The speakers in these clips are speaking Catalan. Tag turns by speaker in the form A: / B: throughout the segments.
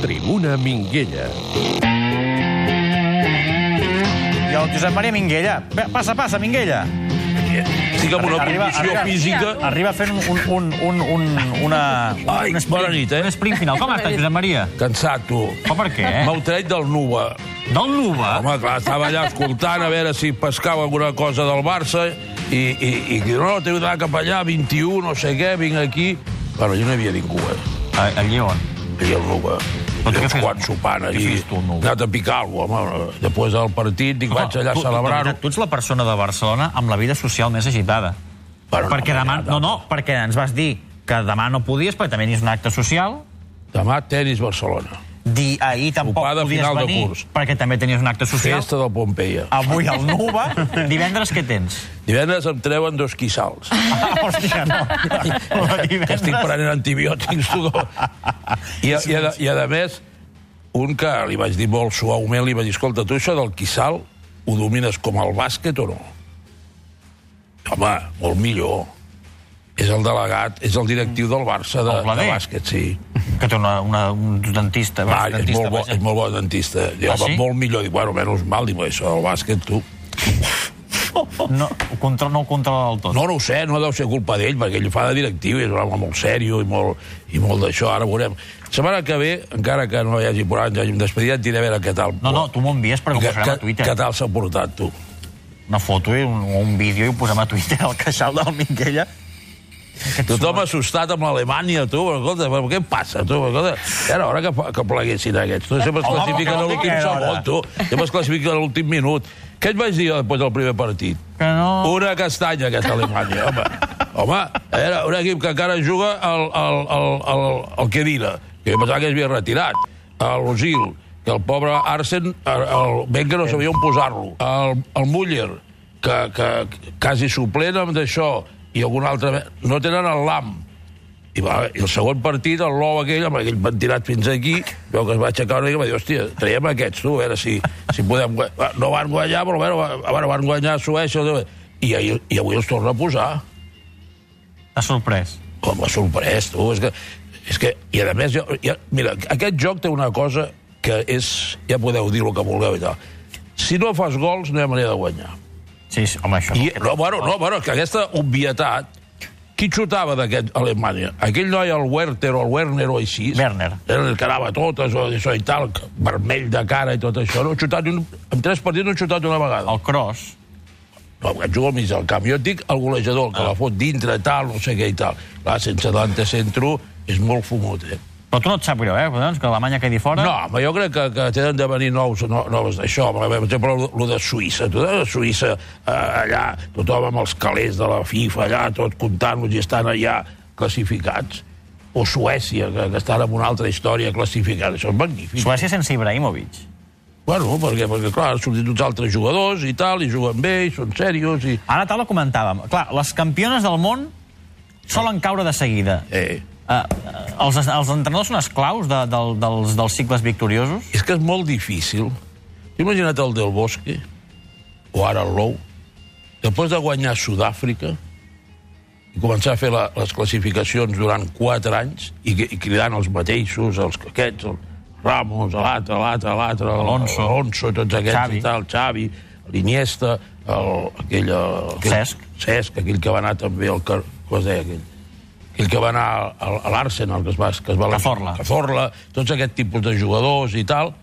A: Maria Minguella.
B: I el Josep Maria Minguella. Ve, Passa, passa, Minguella.
C: Estic amb una
B: Arriba,
C: condició
B: arriba.
C: física...
B: Arriba fent un, un, un, un, una...
C: Ai,
B: un
C: bona nit, eh?
B: Un sprint final. Com estàs, Josep Maria?
C: Cansat, tu.
B: Però per què? eh?
C: M'heu tret del Nuba.
B: Del Nuba?
C: Home, clar, estava allà escoltant a veure si pescava alguna cosa del Barça i, i, i diu, no, t'heu d'anar cap allà, 21, no sé què, vinc aquí... Bueno, jo no hi havia ningú, eh?
B: A, allí on?
C: I el Nuba.
B: Però tu què
C: Uns
B: fes?
C: quants sopant
B: Què
C: allí.
B: fes tu al Nuba?
C: He anat a picar alguna cosa, home. Després del partit, dic, vaig allà a
B: tu,
C: celebrar-ho.
B: Tu, tu ets la persona de Barcelona amb la vida social més agitada.
C: Però no
B: perquè
C: m'ha
B: demà...
C: agradat.
B: No, no, perquè ens vas dir que demà no podies, perquè també tenies un acte social.
C: Demà, tenis Barcelona.
B: Dir ahir tampoc
C: Sopada
B: podies
C: final de
B: venir,
C: curs.
B: perquè també tenies un acte social.
C: Festa del Pompeia.
B: Avui al Nuba. Divendres què tens?
C: Divendres em treuen dos quissals.
B: Ah, hòstia, no. La
C: que estic prenent antibiòtics. Tu. I, a, i, a, I a més, un que li vaig dir molt suaument, li vaig dir, escolta, tu això del quissal ho domines com el bàsquet o no? Home, molt millor. És el delegat, és el directiu del Barça de,
B: El Blader?
C: de bàsquet, sí.
B: Que té una, una, un dentista.
C: Va, és,
B: dentista
C: molt bo, Eh,
B: vaja.
C: és molt bo dentista. Diu,
B: Ah,
C: home,
B: sí?
C: Molt millor. Dic, bueno, menys mal, dic, això del bàsquet, tu.
B: No, ho control, no ho controla del tot.
C: No, no ho sé, no deu ser culpa d'ell, perquè ell ho fa de directiu i és un home molt sèrio i molt, i molt d'això. Ara ho veurem. Setmana que ve, encara que no hi hagi programa, ja hàgim despedit, et diré a veure què tal.
B: No, no, tu m'ho envies perquè ho
C: que,
B: posarem
C: que,
B: a Twitter.
C: Què tal s'ha portat, tu?
B: Una foto i un, un vídeo i ho posem a Twitter al queixal del Minguella.
C: Tothom assustat amb l'Alemanya, tu. Però, escolta, però què passa, tu? Però, Escolta, era hora que, fa- que pleguessin aquests. Tu sempre es
B: Home,
C: classifiquen
B: però
C: a
B: que no
C: l'últim
B: era hora.
C: segon, tu. Sempre es classifiquen a l'últim minut. Què et vaig dir jo després del primer partit?
B: Que no...
C: Una castanya, aquesta Alemanya, home. Home, era un equip que encara juga el, el, el, el, el Kedira, que jo pensava que s'havia retirat, el Osil, que el pobre Arsen, el, el Benca no sabia on posar-lo, el, el Müller, que, que, quasi suplent amb d'això, i algun altre... me- No tenen el LAM. I, va, I el segon partit, el Lou aquell, amb aquell pentinat fins aquí, veu que es va aixecar una mica i va dir, hòstia, traiem aquests, tu, a veure si, si podem... guany-". Va, No van guanyar, però a veure, va- a veure, van guanyar a Suècia... no- I, ahir, I avui els torna a posar.
B: T'ha sorprès.
C: Com m'ha sorprès, tu, és que... És que, i a més, jo, ja, mira, aquest joc té una cosa que és... Ja podeu dir el que vulgueu i tal. Si no fas gols, no hi ha manera de guanyar.
B: Sí, sí, home, això...
C: I, no, bueno, no, bueno, és que aquesta obvietat... Qui xutava d'aquest Alemanya? Aquell noi, el Werther o el Werner o així...
B: Werner.
C: Era el que anava a totes, o això i tal, que- vermell de cara i tot això. No ha xutat ni un, en tres partits no ha xutat una vegada.
B: El cross...
C: No, que juga al mig del camp. Jo et dic el golejador,
B: Ah.
C: el que la fot dintre, tal, no sé què i tal. Clar, sense Dante Centro és molt fumut, eh?
B: Però tu no et sap greu, eh? Doncs que Alemanya quedi fora...
C: No, home, jo crec que, que tenen de venir nous, no, noves d'això. Per exemple, el, el de Suïssa. Tu de Suïssa, eh, allà, tothom amb els calés de la FIFA, allà, tot comptant-los i estan allà classificats. O Suècia, que, que estan en una altra història classificada. Això és magnífic.
B: Suècia sense Ibrahimovic.
C: Bueno, perquè, perquè clar, han sortit uns altres jugadors i tal, i juguen bé, i són serios, i...
B: Ara a taula comentàvem. Clar, les campiones del món solen caure de seguida.
C: Eh,
B: Uh, els, els entrenadors són esclaus de, del, dels, dels cicles victoriosos?
C: és que és molt difícil. T'he Imagina't el del Bosque, o ara el Lou, després de guanyar Sud-àfrica i començar a fer la, les classificacions durant 4 anys i, i cridant els mateixos, els aquests, el Ramos, l'altre, l'altre, l'altre, el-
B: Alonso.
C: Alonso, tots aquests
B: Xavi.
C: i tal, Xavi, l'Iniesta, el, aquell, eh, aquell...
B: Cesc.
C: Cesc, aquell que va anar també al... Car... Com es deia aquell? Aquell que va anar al- a l'Arsenal, que es va... Que es va
B: Cazorla.
C: Cazorla, tots aquest tipus de jugadors i tal.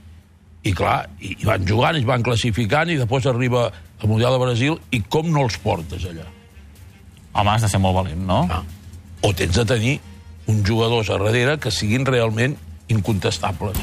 C: I clar, i, i van jugant, i es van classificant, i després arriba el Mundial de Brasil, i com no els portes allà?
B: Home, has de ser molt valent, no?
C: Ah. O tens de tenir uns jugadors a darrere que siguin realment incontestables.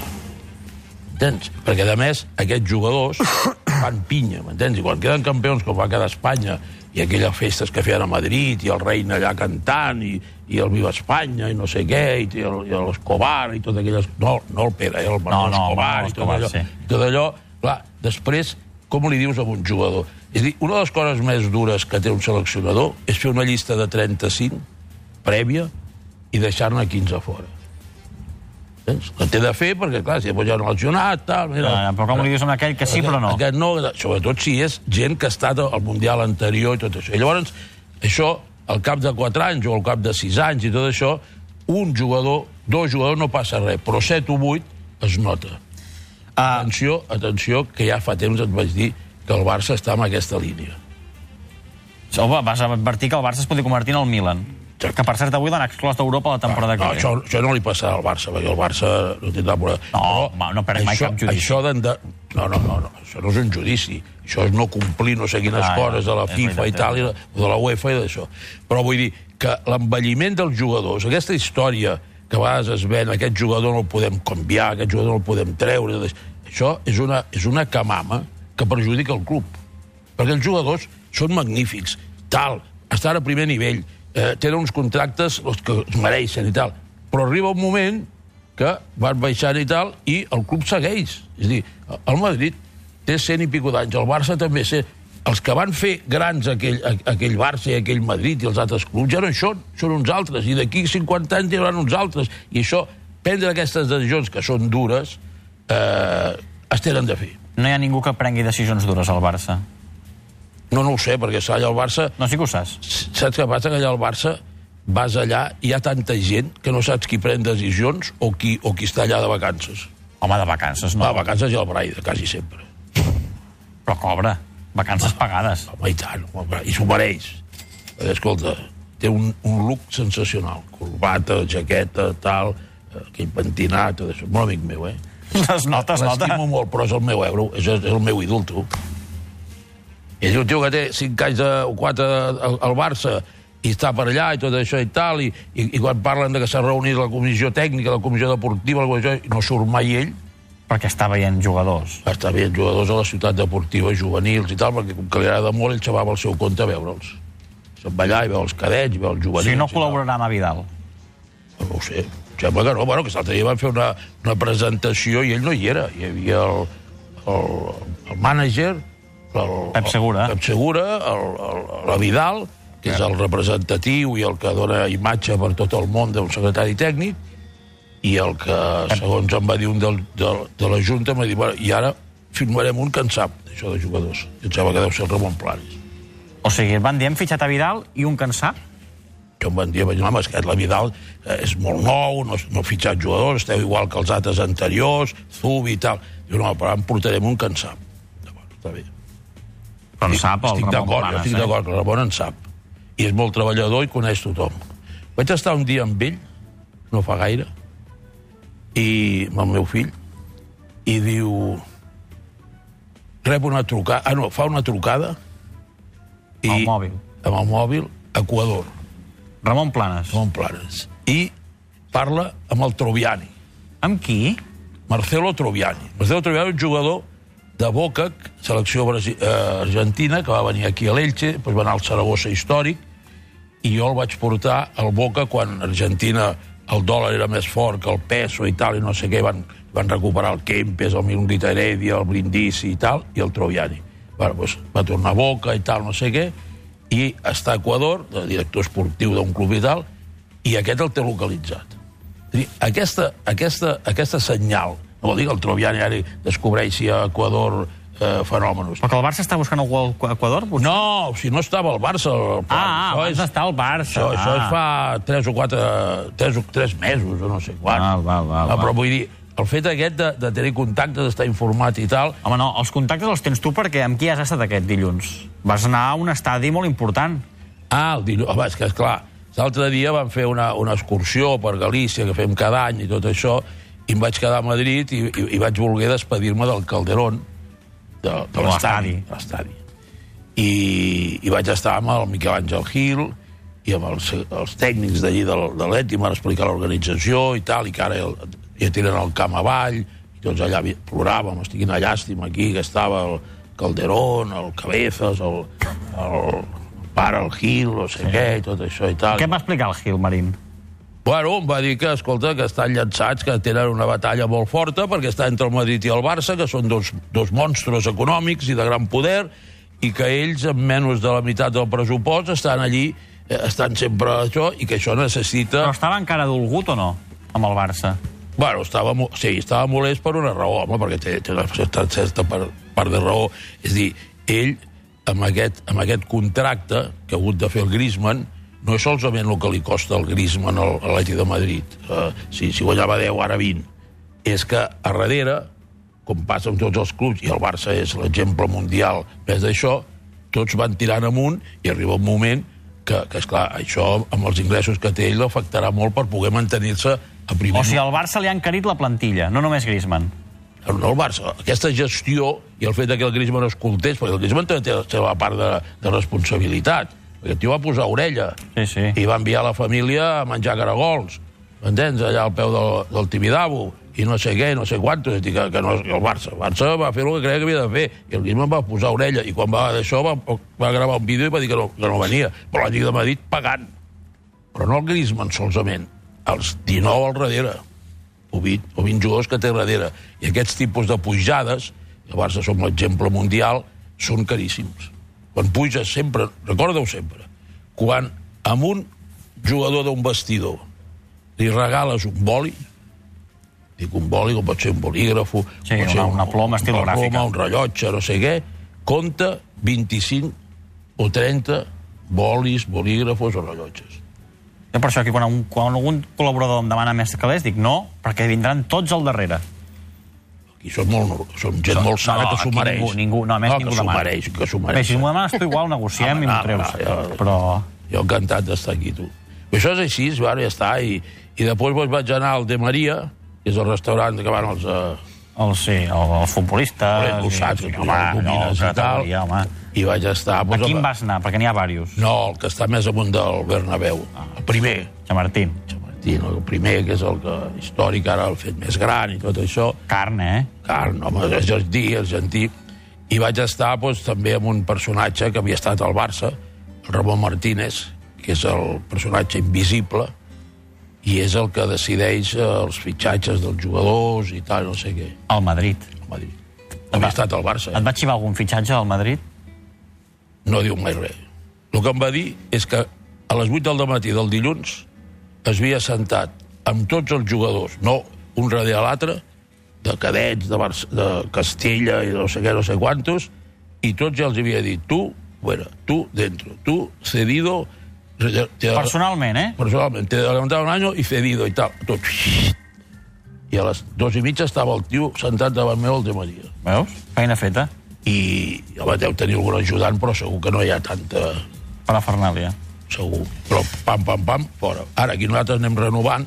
C: Entens? Perquè, a més, aquests jugadors fan pinya, m'entens? I quan queden campions, com va quedar Espanya, i aquelles festes que feien a Madrid, i el reina allà cantant, i, i el Viva Espanya, i no sé què, i, i el- i l'Escobar, i totes aquelles... No, no el Pere, eh, el Manuel
B: no,
C: Escobar, i
B: Manuel
C: tot
B: Escobar,
C: allò.
B: sí.
C: I tot allò, clar, després, com li dius a un jugador? És a dir, una de les coses més dures que té un seleccionador és fer una llista de 35 prèvia i deixar-ne 15 fora. Entens? La té de fer perquè, clar, si després ja no ha lesionat, tal... Mira,
B: Ah, però com li dius a aquell que sí però no?
C: Aquest no, sobretot si és gent que ha estat al Mundial anterior i tot això. I llavors, això, al cap de 4 anys o al cap de 6 anys i tot això, un jugador, dos jugadors no passa res, però 7 o 8 es nota.
B: Ah.
C: Atenció, atenció, que ja fa temps et vaig dir que el Barça està en aquesta línia.
B: Home, vas advertir que el Barça es podria convertir en el Milan.
C: Exacte.
B: Que, per cert, avui l'han exclòs d'Europa la temporada
C: Ah, no,
B: que ve.
C: això, això no li passarà al Barça, perquè el Barça no tindrà problema.
B: No, home, no perd mai
C: això,
B: cap judici.
C: Això d'en de... No, no, no, no, això no és un judici. Això és no complir no sé quines
B: Ah,
C: ah,
B: no,
C: coses de la
B: és
C: FIFA
B: veritat,
C: i tal,
B: és
C: i la, de la UEFA i d'això. Però vull dir que l'envelliment dels jugadors, aquesta història que a vegades es ven, aquest jugador no el podem canviar, aquest jugador no el podem treure, d'aix- això és una, és una camama que perjudica el club. Perquè els jugadors són magnífics, tal, estan a primer nivell, eh, tenen uns contractes els que es mereixen i tal, però arriba un moment que van baixant i tal, i el club segueix. És a dir, el Madrid té cent i pico d'anys, el Barça també sé. Els que van fer grans aquell, a- aquell Barça i aquell Madrid i els altres clubs ja no hi són, són uns altres, i d'aquí 50 anys hi haurà uns altres. I això, prendre aquestes decisions que són dures, eh, es tenen de fer.
B: No hi ha ningú que prengui decisions dures al Barça.
C: No, no ho sé, perquè s'ha allà el Barça
B: No, sí que ho saps.
C: saps què passa? Que allà al Barça vas allà i hi ha tanta gent que no saps qui pren decisions o qui, o qui està allà de vacances.
B: Home, de vacances,
C: No.
B: no.
C: A vacances i el Braida, quasi sempre.
B: Però cobra. Vacances pagades.
C: Home, i tant, home, Braida, i s'ho mereix. Eh, Escolta, té un, un look sensacional. Corbata, jaqueta, tal, eh, aquell pentinat, tot això. Molt amic meu, eh?
B: Les notes, nota.
C: L'estimo molt, però és el meu euro, és, és el meu ídol, tu. És un tio que té 5 anys de, o 4 al, al Barça i està per allà i tot això i tal, i, i, i quan parlen de que s'ha reunit la comissió tècnica, la comissió deportiva, la comissió, i no surt mai ell,
B: Perquè està veient jugadors.
C: està bé jugadors a la ciutat deportiva, juvenils i tal, perquè com que li agrada molt, ell se va al seu compte a veure'ls. Se'n va allà i veu els cadets, i veu els
B: O
C: juvenils.
B: sigui, no
C: i tal.
B: col·laborarà amb Vidal.
C: No ho sé. Em Sembla que no. Bueno, que l'altre dia van fer una, una presentació i ell no hi era. Hi havia el, el, el mànager, el,
B: Pep Segura.
C: El, Oh, Pep Segura, el, el, la Vidal, que és el representatiu i el que dona imatge per tot el món d'un secretari tècnic, i el que, segons em va dir un del, del, de la Junta, em va dir, bueno, i ara firmarem un que en sap, això de jugadors. I em sembla que deu ser el Ramon Planes.
B: O sigui, et van dir, hem fitxat a Vidal i un que en sap?
C: Jo em van dir, vaig dir, home, és que la Vidal eh, és molt nou, no, no ha fitxat jugadors, esteu igual que els altres anteriors, Zubi i tal. Diu, no, però ara en portarem un que en sap. Llavors, està bé.
B: Però en sap el
C: estic
B: Ramon
C: d'acord, jo
B: Planes,
C: estic
B: eh?
C: d'acord, que el Ramon en sap. I és molt treballador i coneix tothom. Vaig estar un dia amb ell, no fa gaire, i amb el meu fill, i diu... Rep una trucada... Ah, no, fa una trucada... I,
B: Amb el mòbil.
C: Amb el mòbil, Equador.
B: Ramon Planes.
C: Ramon Planes. I parla amb el Troviani,
B: Amb qui?
C: Marcelo Troviani. Marcelo Troviani és un jugador de Boca, selecció Brasi eh, argentina, que va venir aquí a l'Elche, doncs va anar al Saragossa històric, i jo el vaig portar al Boca quan Argentina el dòlar era més fort que el peso i tal, i no sé què, van, van recuperar el Kempes, el Milonguita Heredia, el Brindisi i tal, i el Troviani. Bueno, doncs va tornar a Boca i tal, no sé què, i està a Equador, de director esportiu d'un club i tal, i aquest el té localitzat. És a dir, Aquesta, aquesta, aquesta senyal, no vol dir que el Troviani ara descobreixi a Equador eh, fenòmenos.
B: Perquè el Barça està buscant algú al Equador? potser?
C: No, si no estava al Barça... El
B: Ah,
C: Plan.
B: ah,
C: Això
B: abans
C: és-
B: d'estar al Barça.
C: això, ah. això
B: ah.
C: es fa 3 o 4, 3, o 3 mesos o no sé quant.
B: Val, val, val,
C: no,
B: val.
C: però vull dir, el fet aquest de, de tenir contacte, d'estar informat i tal,
B: Home, no, els contactes els tens tu perquè amb qui has estat aquest dilluns? Vas anar a un estadi molt important.
C: Ah, el dilluns. Home, és que, esclar, l'altre dia vam fer una, una excursió per Galícia, que fem cada any i tot això, i em vaig quedar a Madrid i, i, i vaig voler despedir-me del Calderón, de, de
B: De l'estadi.
C: l'estadi. de l'estadi. I, I vaig estar amb el Miquel Àngel Gil i amb els, els tècnics d'allí del- de l'ETI, m'han explicat l'organització i tal, i que ara el- ja tenen el camp avall, i tots allà vi- ploràvem, estic quina llàstima aquí, que estava el Calderón, el Cabezas, el, el pare, el Gil, no sé sí. què, i tot això i tal.
B: Què em va explicar el Gil Marín?
C: Bueno, em va dir que, escolta, que estan llançats, que tenen una batalla molt forta, perquè està entre el Madrid i el Barça, que són dos, dos monstros econòmics i de gran poder, i que ells, amb menys de la meitat del pressupost, estan allí, eh, estan sempre a això, i que això necessita...
B: Però estava encara dolgut o no, amb el Barça?
C: Bueno, estava, mo- sí, estava molest per una raó, home, perquè té, té una certa, certa part, part de raó. És a dir, ell, amb aquest, amb aquest contracte que ha hagut de fer el Griezmann, no és eh, solament el que li costa el Griezmann al- a l'Atleti de Madrid. Uh, si, si guanyava 10, ara 20. és que a darrere, com passa amb tots els clubs, i el Barça és l'exemple mundial més d'això, tots van tirant amunt i arriba un moment que, que esclar, això amb els ingressos que té ell l'afectarà molt per poder mantenir-se a primer
B: O sigui, al Barça li han carit la plantilla, no només Griezmann.
C: no el Barça, aquesta gestió i el fet de que el Griezmann escoltés, perquè el Griezmann també té la seva part de, de responsabilitat. Aquest tio va posar orella
B: Sí, sí.
C: i va enviar la família a menjar caragols, m'entens? Allà al peu del, del Tibidabo i no sé què, no sé quantos, és a dir, que, que no, el Barça. El Barça va fer el que creia que havia de fer i el Griezmann va posar orella i quan va d'això va, va gravar un vídeo i va dir que no, que no venia. Però la Lliga de Madrid pagant. Però no el Griezmann solament, els 19 al darrere o 20, o 20 jugadors que té darrere. I aquests tipus de pujades, i el Barça som l'exemple mundial, són caríssims. Quan puges sempre, recorda-ho sempre, quan amb un jugador d'un vestidor li regales un boli, dic un boli, com pot ser un bolígrafo,
B: Sí,
C: pot
B: una-
C: ser un-
B: una ploma estilogràfica.
C: Una ploma, un rellotge, no sé què, compta 25 o 30 bolis, bolígrafos o rellotges.
B: Jo per això que quan, un, quan algun col·laborador em demana més calés, dic no, perquè vindran tots al darrere.
C: Aquí són, molt, nor- són gent molt sana que s'ho
B: aquí
C: mereix.
B: Ningú, ningú, no, a més
C: no,
B: ningú
C: que s'ho
B: demana.
C: mereix, que s'ho
B: Bé,
C: mereix.
B: si m'ho demanes tu, igual negociem
C: Home,
B: i m'ho
C: no,
B: treus.
C: no, jo-
B: Però...
C: Jo encantat d'estar aquí, tu. Però això és així, bueno, ja està. I, i després doncs, vaig anar al De Maria, que és el restaurant que van els... Eh,
B: El, sí, el, els futbolistes...
C: Ho saps, que tu
B: Ah, home,
C: ja ho
B: no,
C: domines i tal.
B: categoria, home.
C: I vaig estar...
B: A
C: Doncs,
B: quin
C: home,
B: vas anar? Perquè n'hi ha diversos.
C: No, el que està més amunt del Bernabéu.
B: Ah,
C: El primer.
B: Chamartín.
C: Martí, no, el primer, que és el que històric, ara el fet més gran i tot això.
B: Carn, eh?
C: carn, home, és argentí, argentí, i vaig estar doncs, també amb un personatge que havia estat al Barça, el Ramon Martínez, que és el personatge invisible, i és el que decideix eh, els fitxatges dels jugadors i tal, no sé què.
B: Al Madrid.
C: El Madrid. Havia estat al Barça,
B: Et
C: eh?
B: va xivar algun fitxatge al Madrid?
C: no diu mai res. El que em va dir és que a les 8 del matí del dilluns es havia sentat amb tots els jugadors, no un darrere l'altre, de cadets, de, Barça, de Castella i no sé què, no sé quantos, i tots ja els havia dit, tu, fuera, tu, dentro, tu, cedido... te- te-
B: Personalment, eh?
C: personalment, te levantava un año i cedido i tal, tot. I a les dues i mitja estava el tio sentat davant meu al de Maria.
B: Veus? Feina feta.
C: I home, deu tenir algun ajudant, però segur que no hi ha tanta
B: Per a Fernàlia.
C: segur. Però pam, pam, pam, fora. Ara, aquí nosaltres anem renovant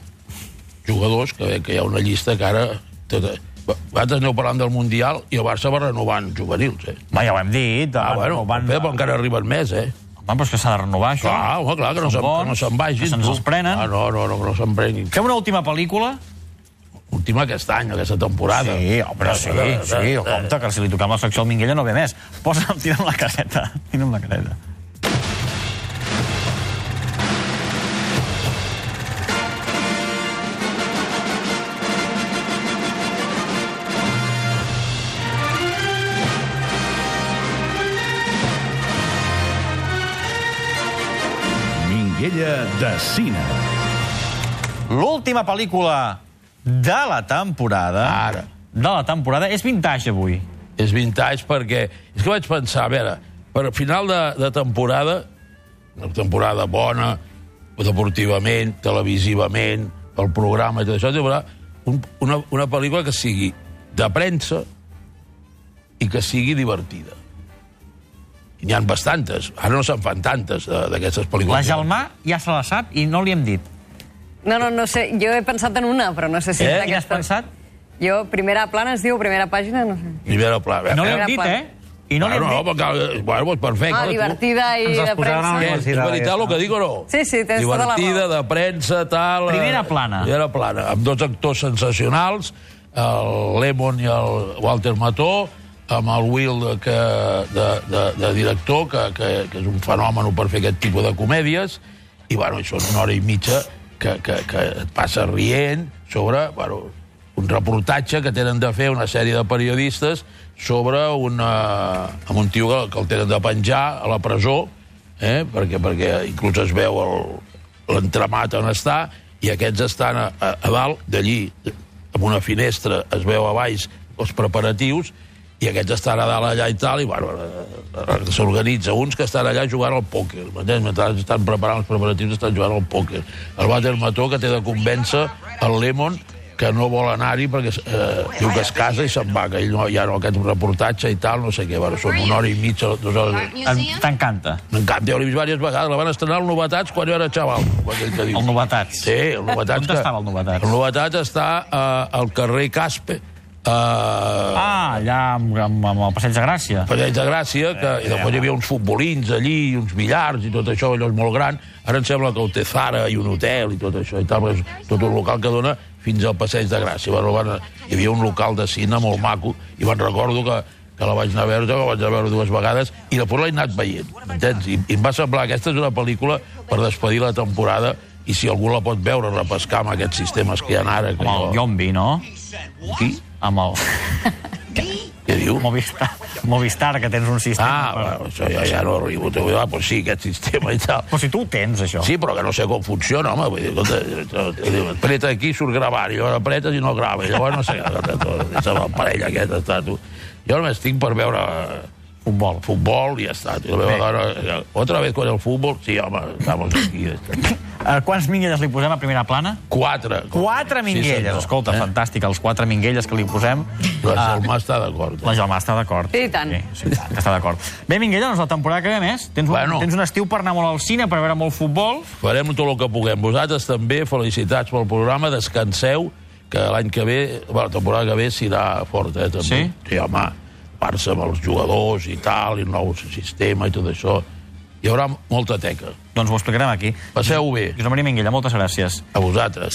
C: jugadors, que veig que hi ha una llista que ara... Tota... Va- Vosaltres aneu parlant del Mundial i el Barça va renovant juvenils, eh?
B: Va, ja ho hem dit.
C: Ah, bueno,
B: van,
C: Pep, encara arriben més, eh?
B: Home, però és que s'ha de renovar, això.
C: Clar, home, clar, que no
B: Són
C: se'n
B: bons,
C: que no se'n vagin.
B: que se'ns
C: tu.
B: els prenen.
C: Ah, no, no, no, que no se'n prenguin.
B: Fem una última pel·lícula?
C: Última aquest any, aquesta temporada. Ah,
B: Sí, però sí, sí, compte, que si li tocava la secció al Minguella no ve més. Posa'm, tira'm la caseta, tira'm la caseta.
A: Minguella de Cine.
B: L'última pel·lícula de la temporada...
C: Ara.
B: De la temporada. És vintage, avui.
C: és vintage perquè... És que vaig pensar, a veure, per a final de, de temporada, una temporada bona, deportivament, televisivament, el programa i tot això, hi haurà un, una, una pel·lícula que sigui de premsa i que sigui divertida. I N'hi ha bastantes. Ara no se'n fan tantes, de- d'aquestes
B: La
C: pel·lícules.
B: Gelmà ja se la sap i no li hem dit.
D: No, no, no sé. Jo he pensat en una, però no sé si...
B: Eh? Quina
D: és
B: has
D: d'aquesta.
B: pensat?
D: Jo, primera plana es diu, primera pàgina, no sé.
C: Primera pla.
B: No li
D: Era
B: hem dit,
D: plan.
B: eh? I no li
C: no,
B: hem
C: no,
B: dit.
C: perquè, bueno, doncs perfecte.
D: Ah,
C: tu.
D: divertida i
E: Ens les
D: de
E: posaran a la
C: Eh,
D: premsa.
E: Home,
C: és
E: sí, la
C: veritat
E: veia,
C: el que dic o no?
D: Sí, sí, tens tota la raó.
C: Divertida, de premsa, tal... eh,
B: Primera plana.
C: Primera plana, amb dos actors sensacionals, el Lemon i el Walter Mató, amb el Will de, que, de, de, de director, que, que, que és un fenomen per fer aquest tipus de comèdies, i bueno, això és una hora i mitja que, que, que et passa rient sobre bueno, un reportatge que tenen de fer una sèrie de periodistes sobre una, amb un tio que, que el tenen de penjar a la presó eh? perquè, perquè inclús es veu el- l'entramat on està, i aquests estan a, a, a dalt, d'allí, amb una finestra, es veu a baix els preparatius, i aquests estan a dalt allà i tal, i bueno, eh, eh, s'organitza uns que estan allà jugant al pòquer, m'entens? mentre estan preparant els preparatius estan jugant al pòquer. El Walter Mató, que té de convèncer el Lemon que no vol anar-hi perquè eh, diu que es casa i se'n va, que ell no, ja no, aquest reportatge i tal, no sé què, bueno, són una hora i mitja, dues hores...
B: Em- T'encanta,
C: M'encanta, ja l'he vist diverses vegades, la van estrenar al Novetats quan jo era xaval, quan ell que diu.
B: el novetats.
C: Sí, el Novetats.
B: On estava el Novetats?
C: El Novetats està eh, al carrer Caspe, eh,
B: Ah, allà amb, amb, amb el Passeig de Gràcia.
C: Passeig de Gràcia, que i després hi havia uns futbolins allí, uns billars i tot això, allò és molt gran. Ara em sembla que ho té Zara i un hotel i tot això i tal, perquè és tot un local que dona fins al Passeig de Gràcia. Bueno, van, hi havia un local de cine molt maco i me'n recordo que, que la vaig anar a veure, que la vaig anar a veure dues vegades i després l'he anat veient, entens? I, I em va semblar que aquesta és una pel·lícula per despedir la temporada i si algú la pot veure, repescar amb aquests sistemes que hi ha ara. Que
B: Amb el Yombi, no?
C: Qui?
B: Amb el
C: Què diu?
B: Movistar, Movistar que tens un sistema.
C: Ah, bueno, això ja, ja no arribo. Ah, pues sí, aquest sistema i tal.
B: Però si tu ho tens, això.
C: Sí, però que no sé com funciona, home. Vull dir, escolta, preta aquí, surt gravar, i llavors apretes i no grava. I llavors no sé què. És l'aparell aquest, està, tu. Jo només tinc per veure
B: Futbol.
C: futbol i ja està. Tu, la meva dona, otra vez con el futbol, sí, home, estamos aquí. ja està.
B: Eh, quants minguelles li posem a primera plana?
C: Quatre.
B: Quatre minguelles.
C: senyor.
B: Escolta,
C: Eh?
B: fantàstic, els quatre minguelles que li posem.
C: La Salma està d'acord.
B: La Gelmà està d'acord.
D: Sí, i tant.
B: Sí, sí, i tant, que està d'acord. Bé, Minguella, doncs la temporada que ve més. Tens un,
C: Bueno.
B: bueno. tens un estiu per anar molt al cine, per veure molt futbol.
C: Farem tot el que puguem. Vosaltres també, felicitats pel programa, descanseu, que l'any que ve, bueno, la temporada que ve s'irà fort, eh, també.
B: Sí?
C: Sí, home, Barça amb els jugadors i tal, i el nou sistema i tot això. Hi haurà molta teca.
B: Doncs ho explicarem aquí.
C: Passeu bé,
B: Josep Maria Minguella, moltes gràcies.
C: a vosaltres.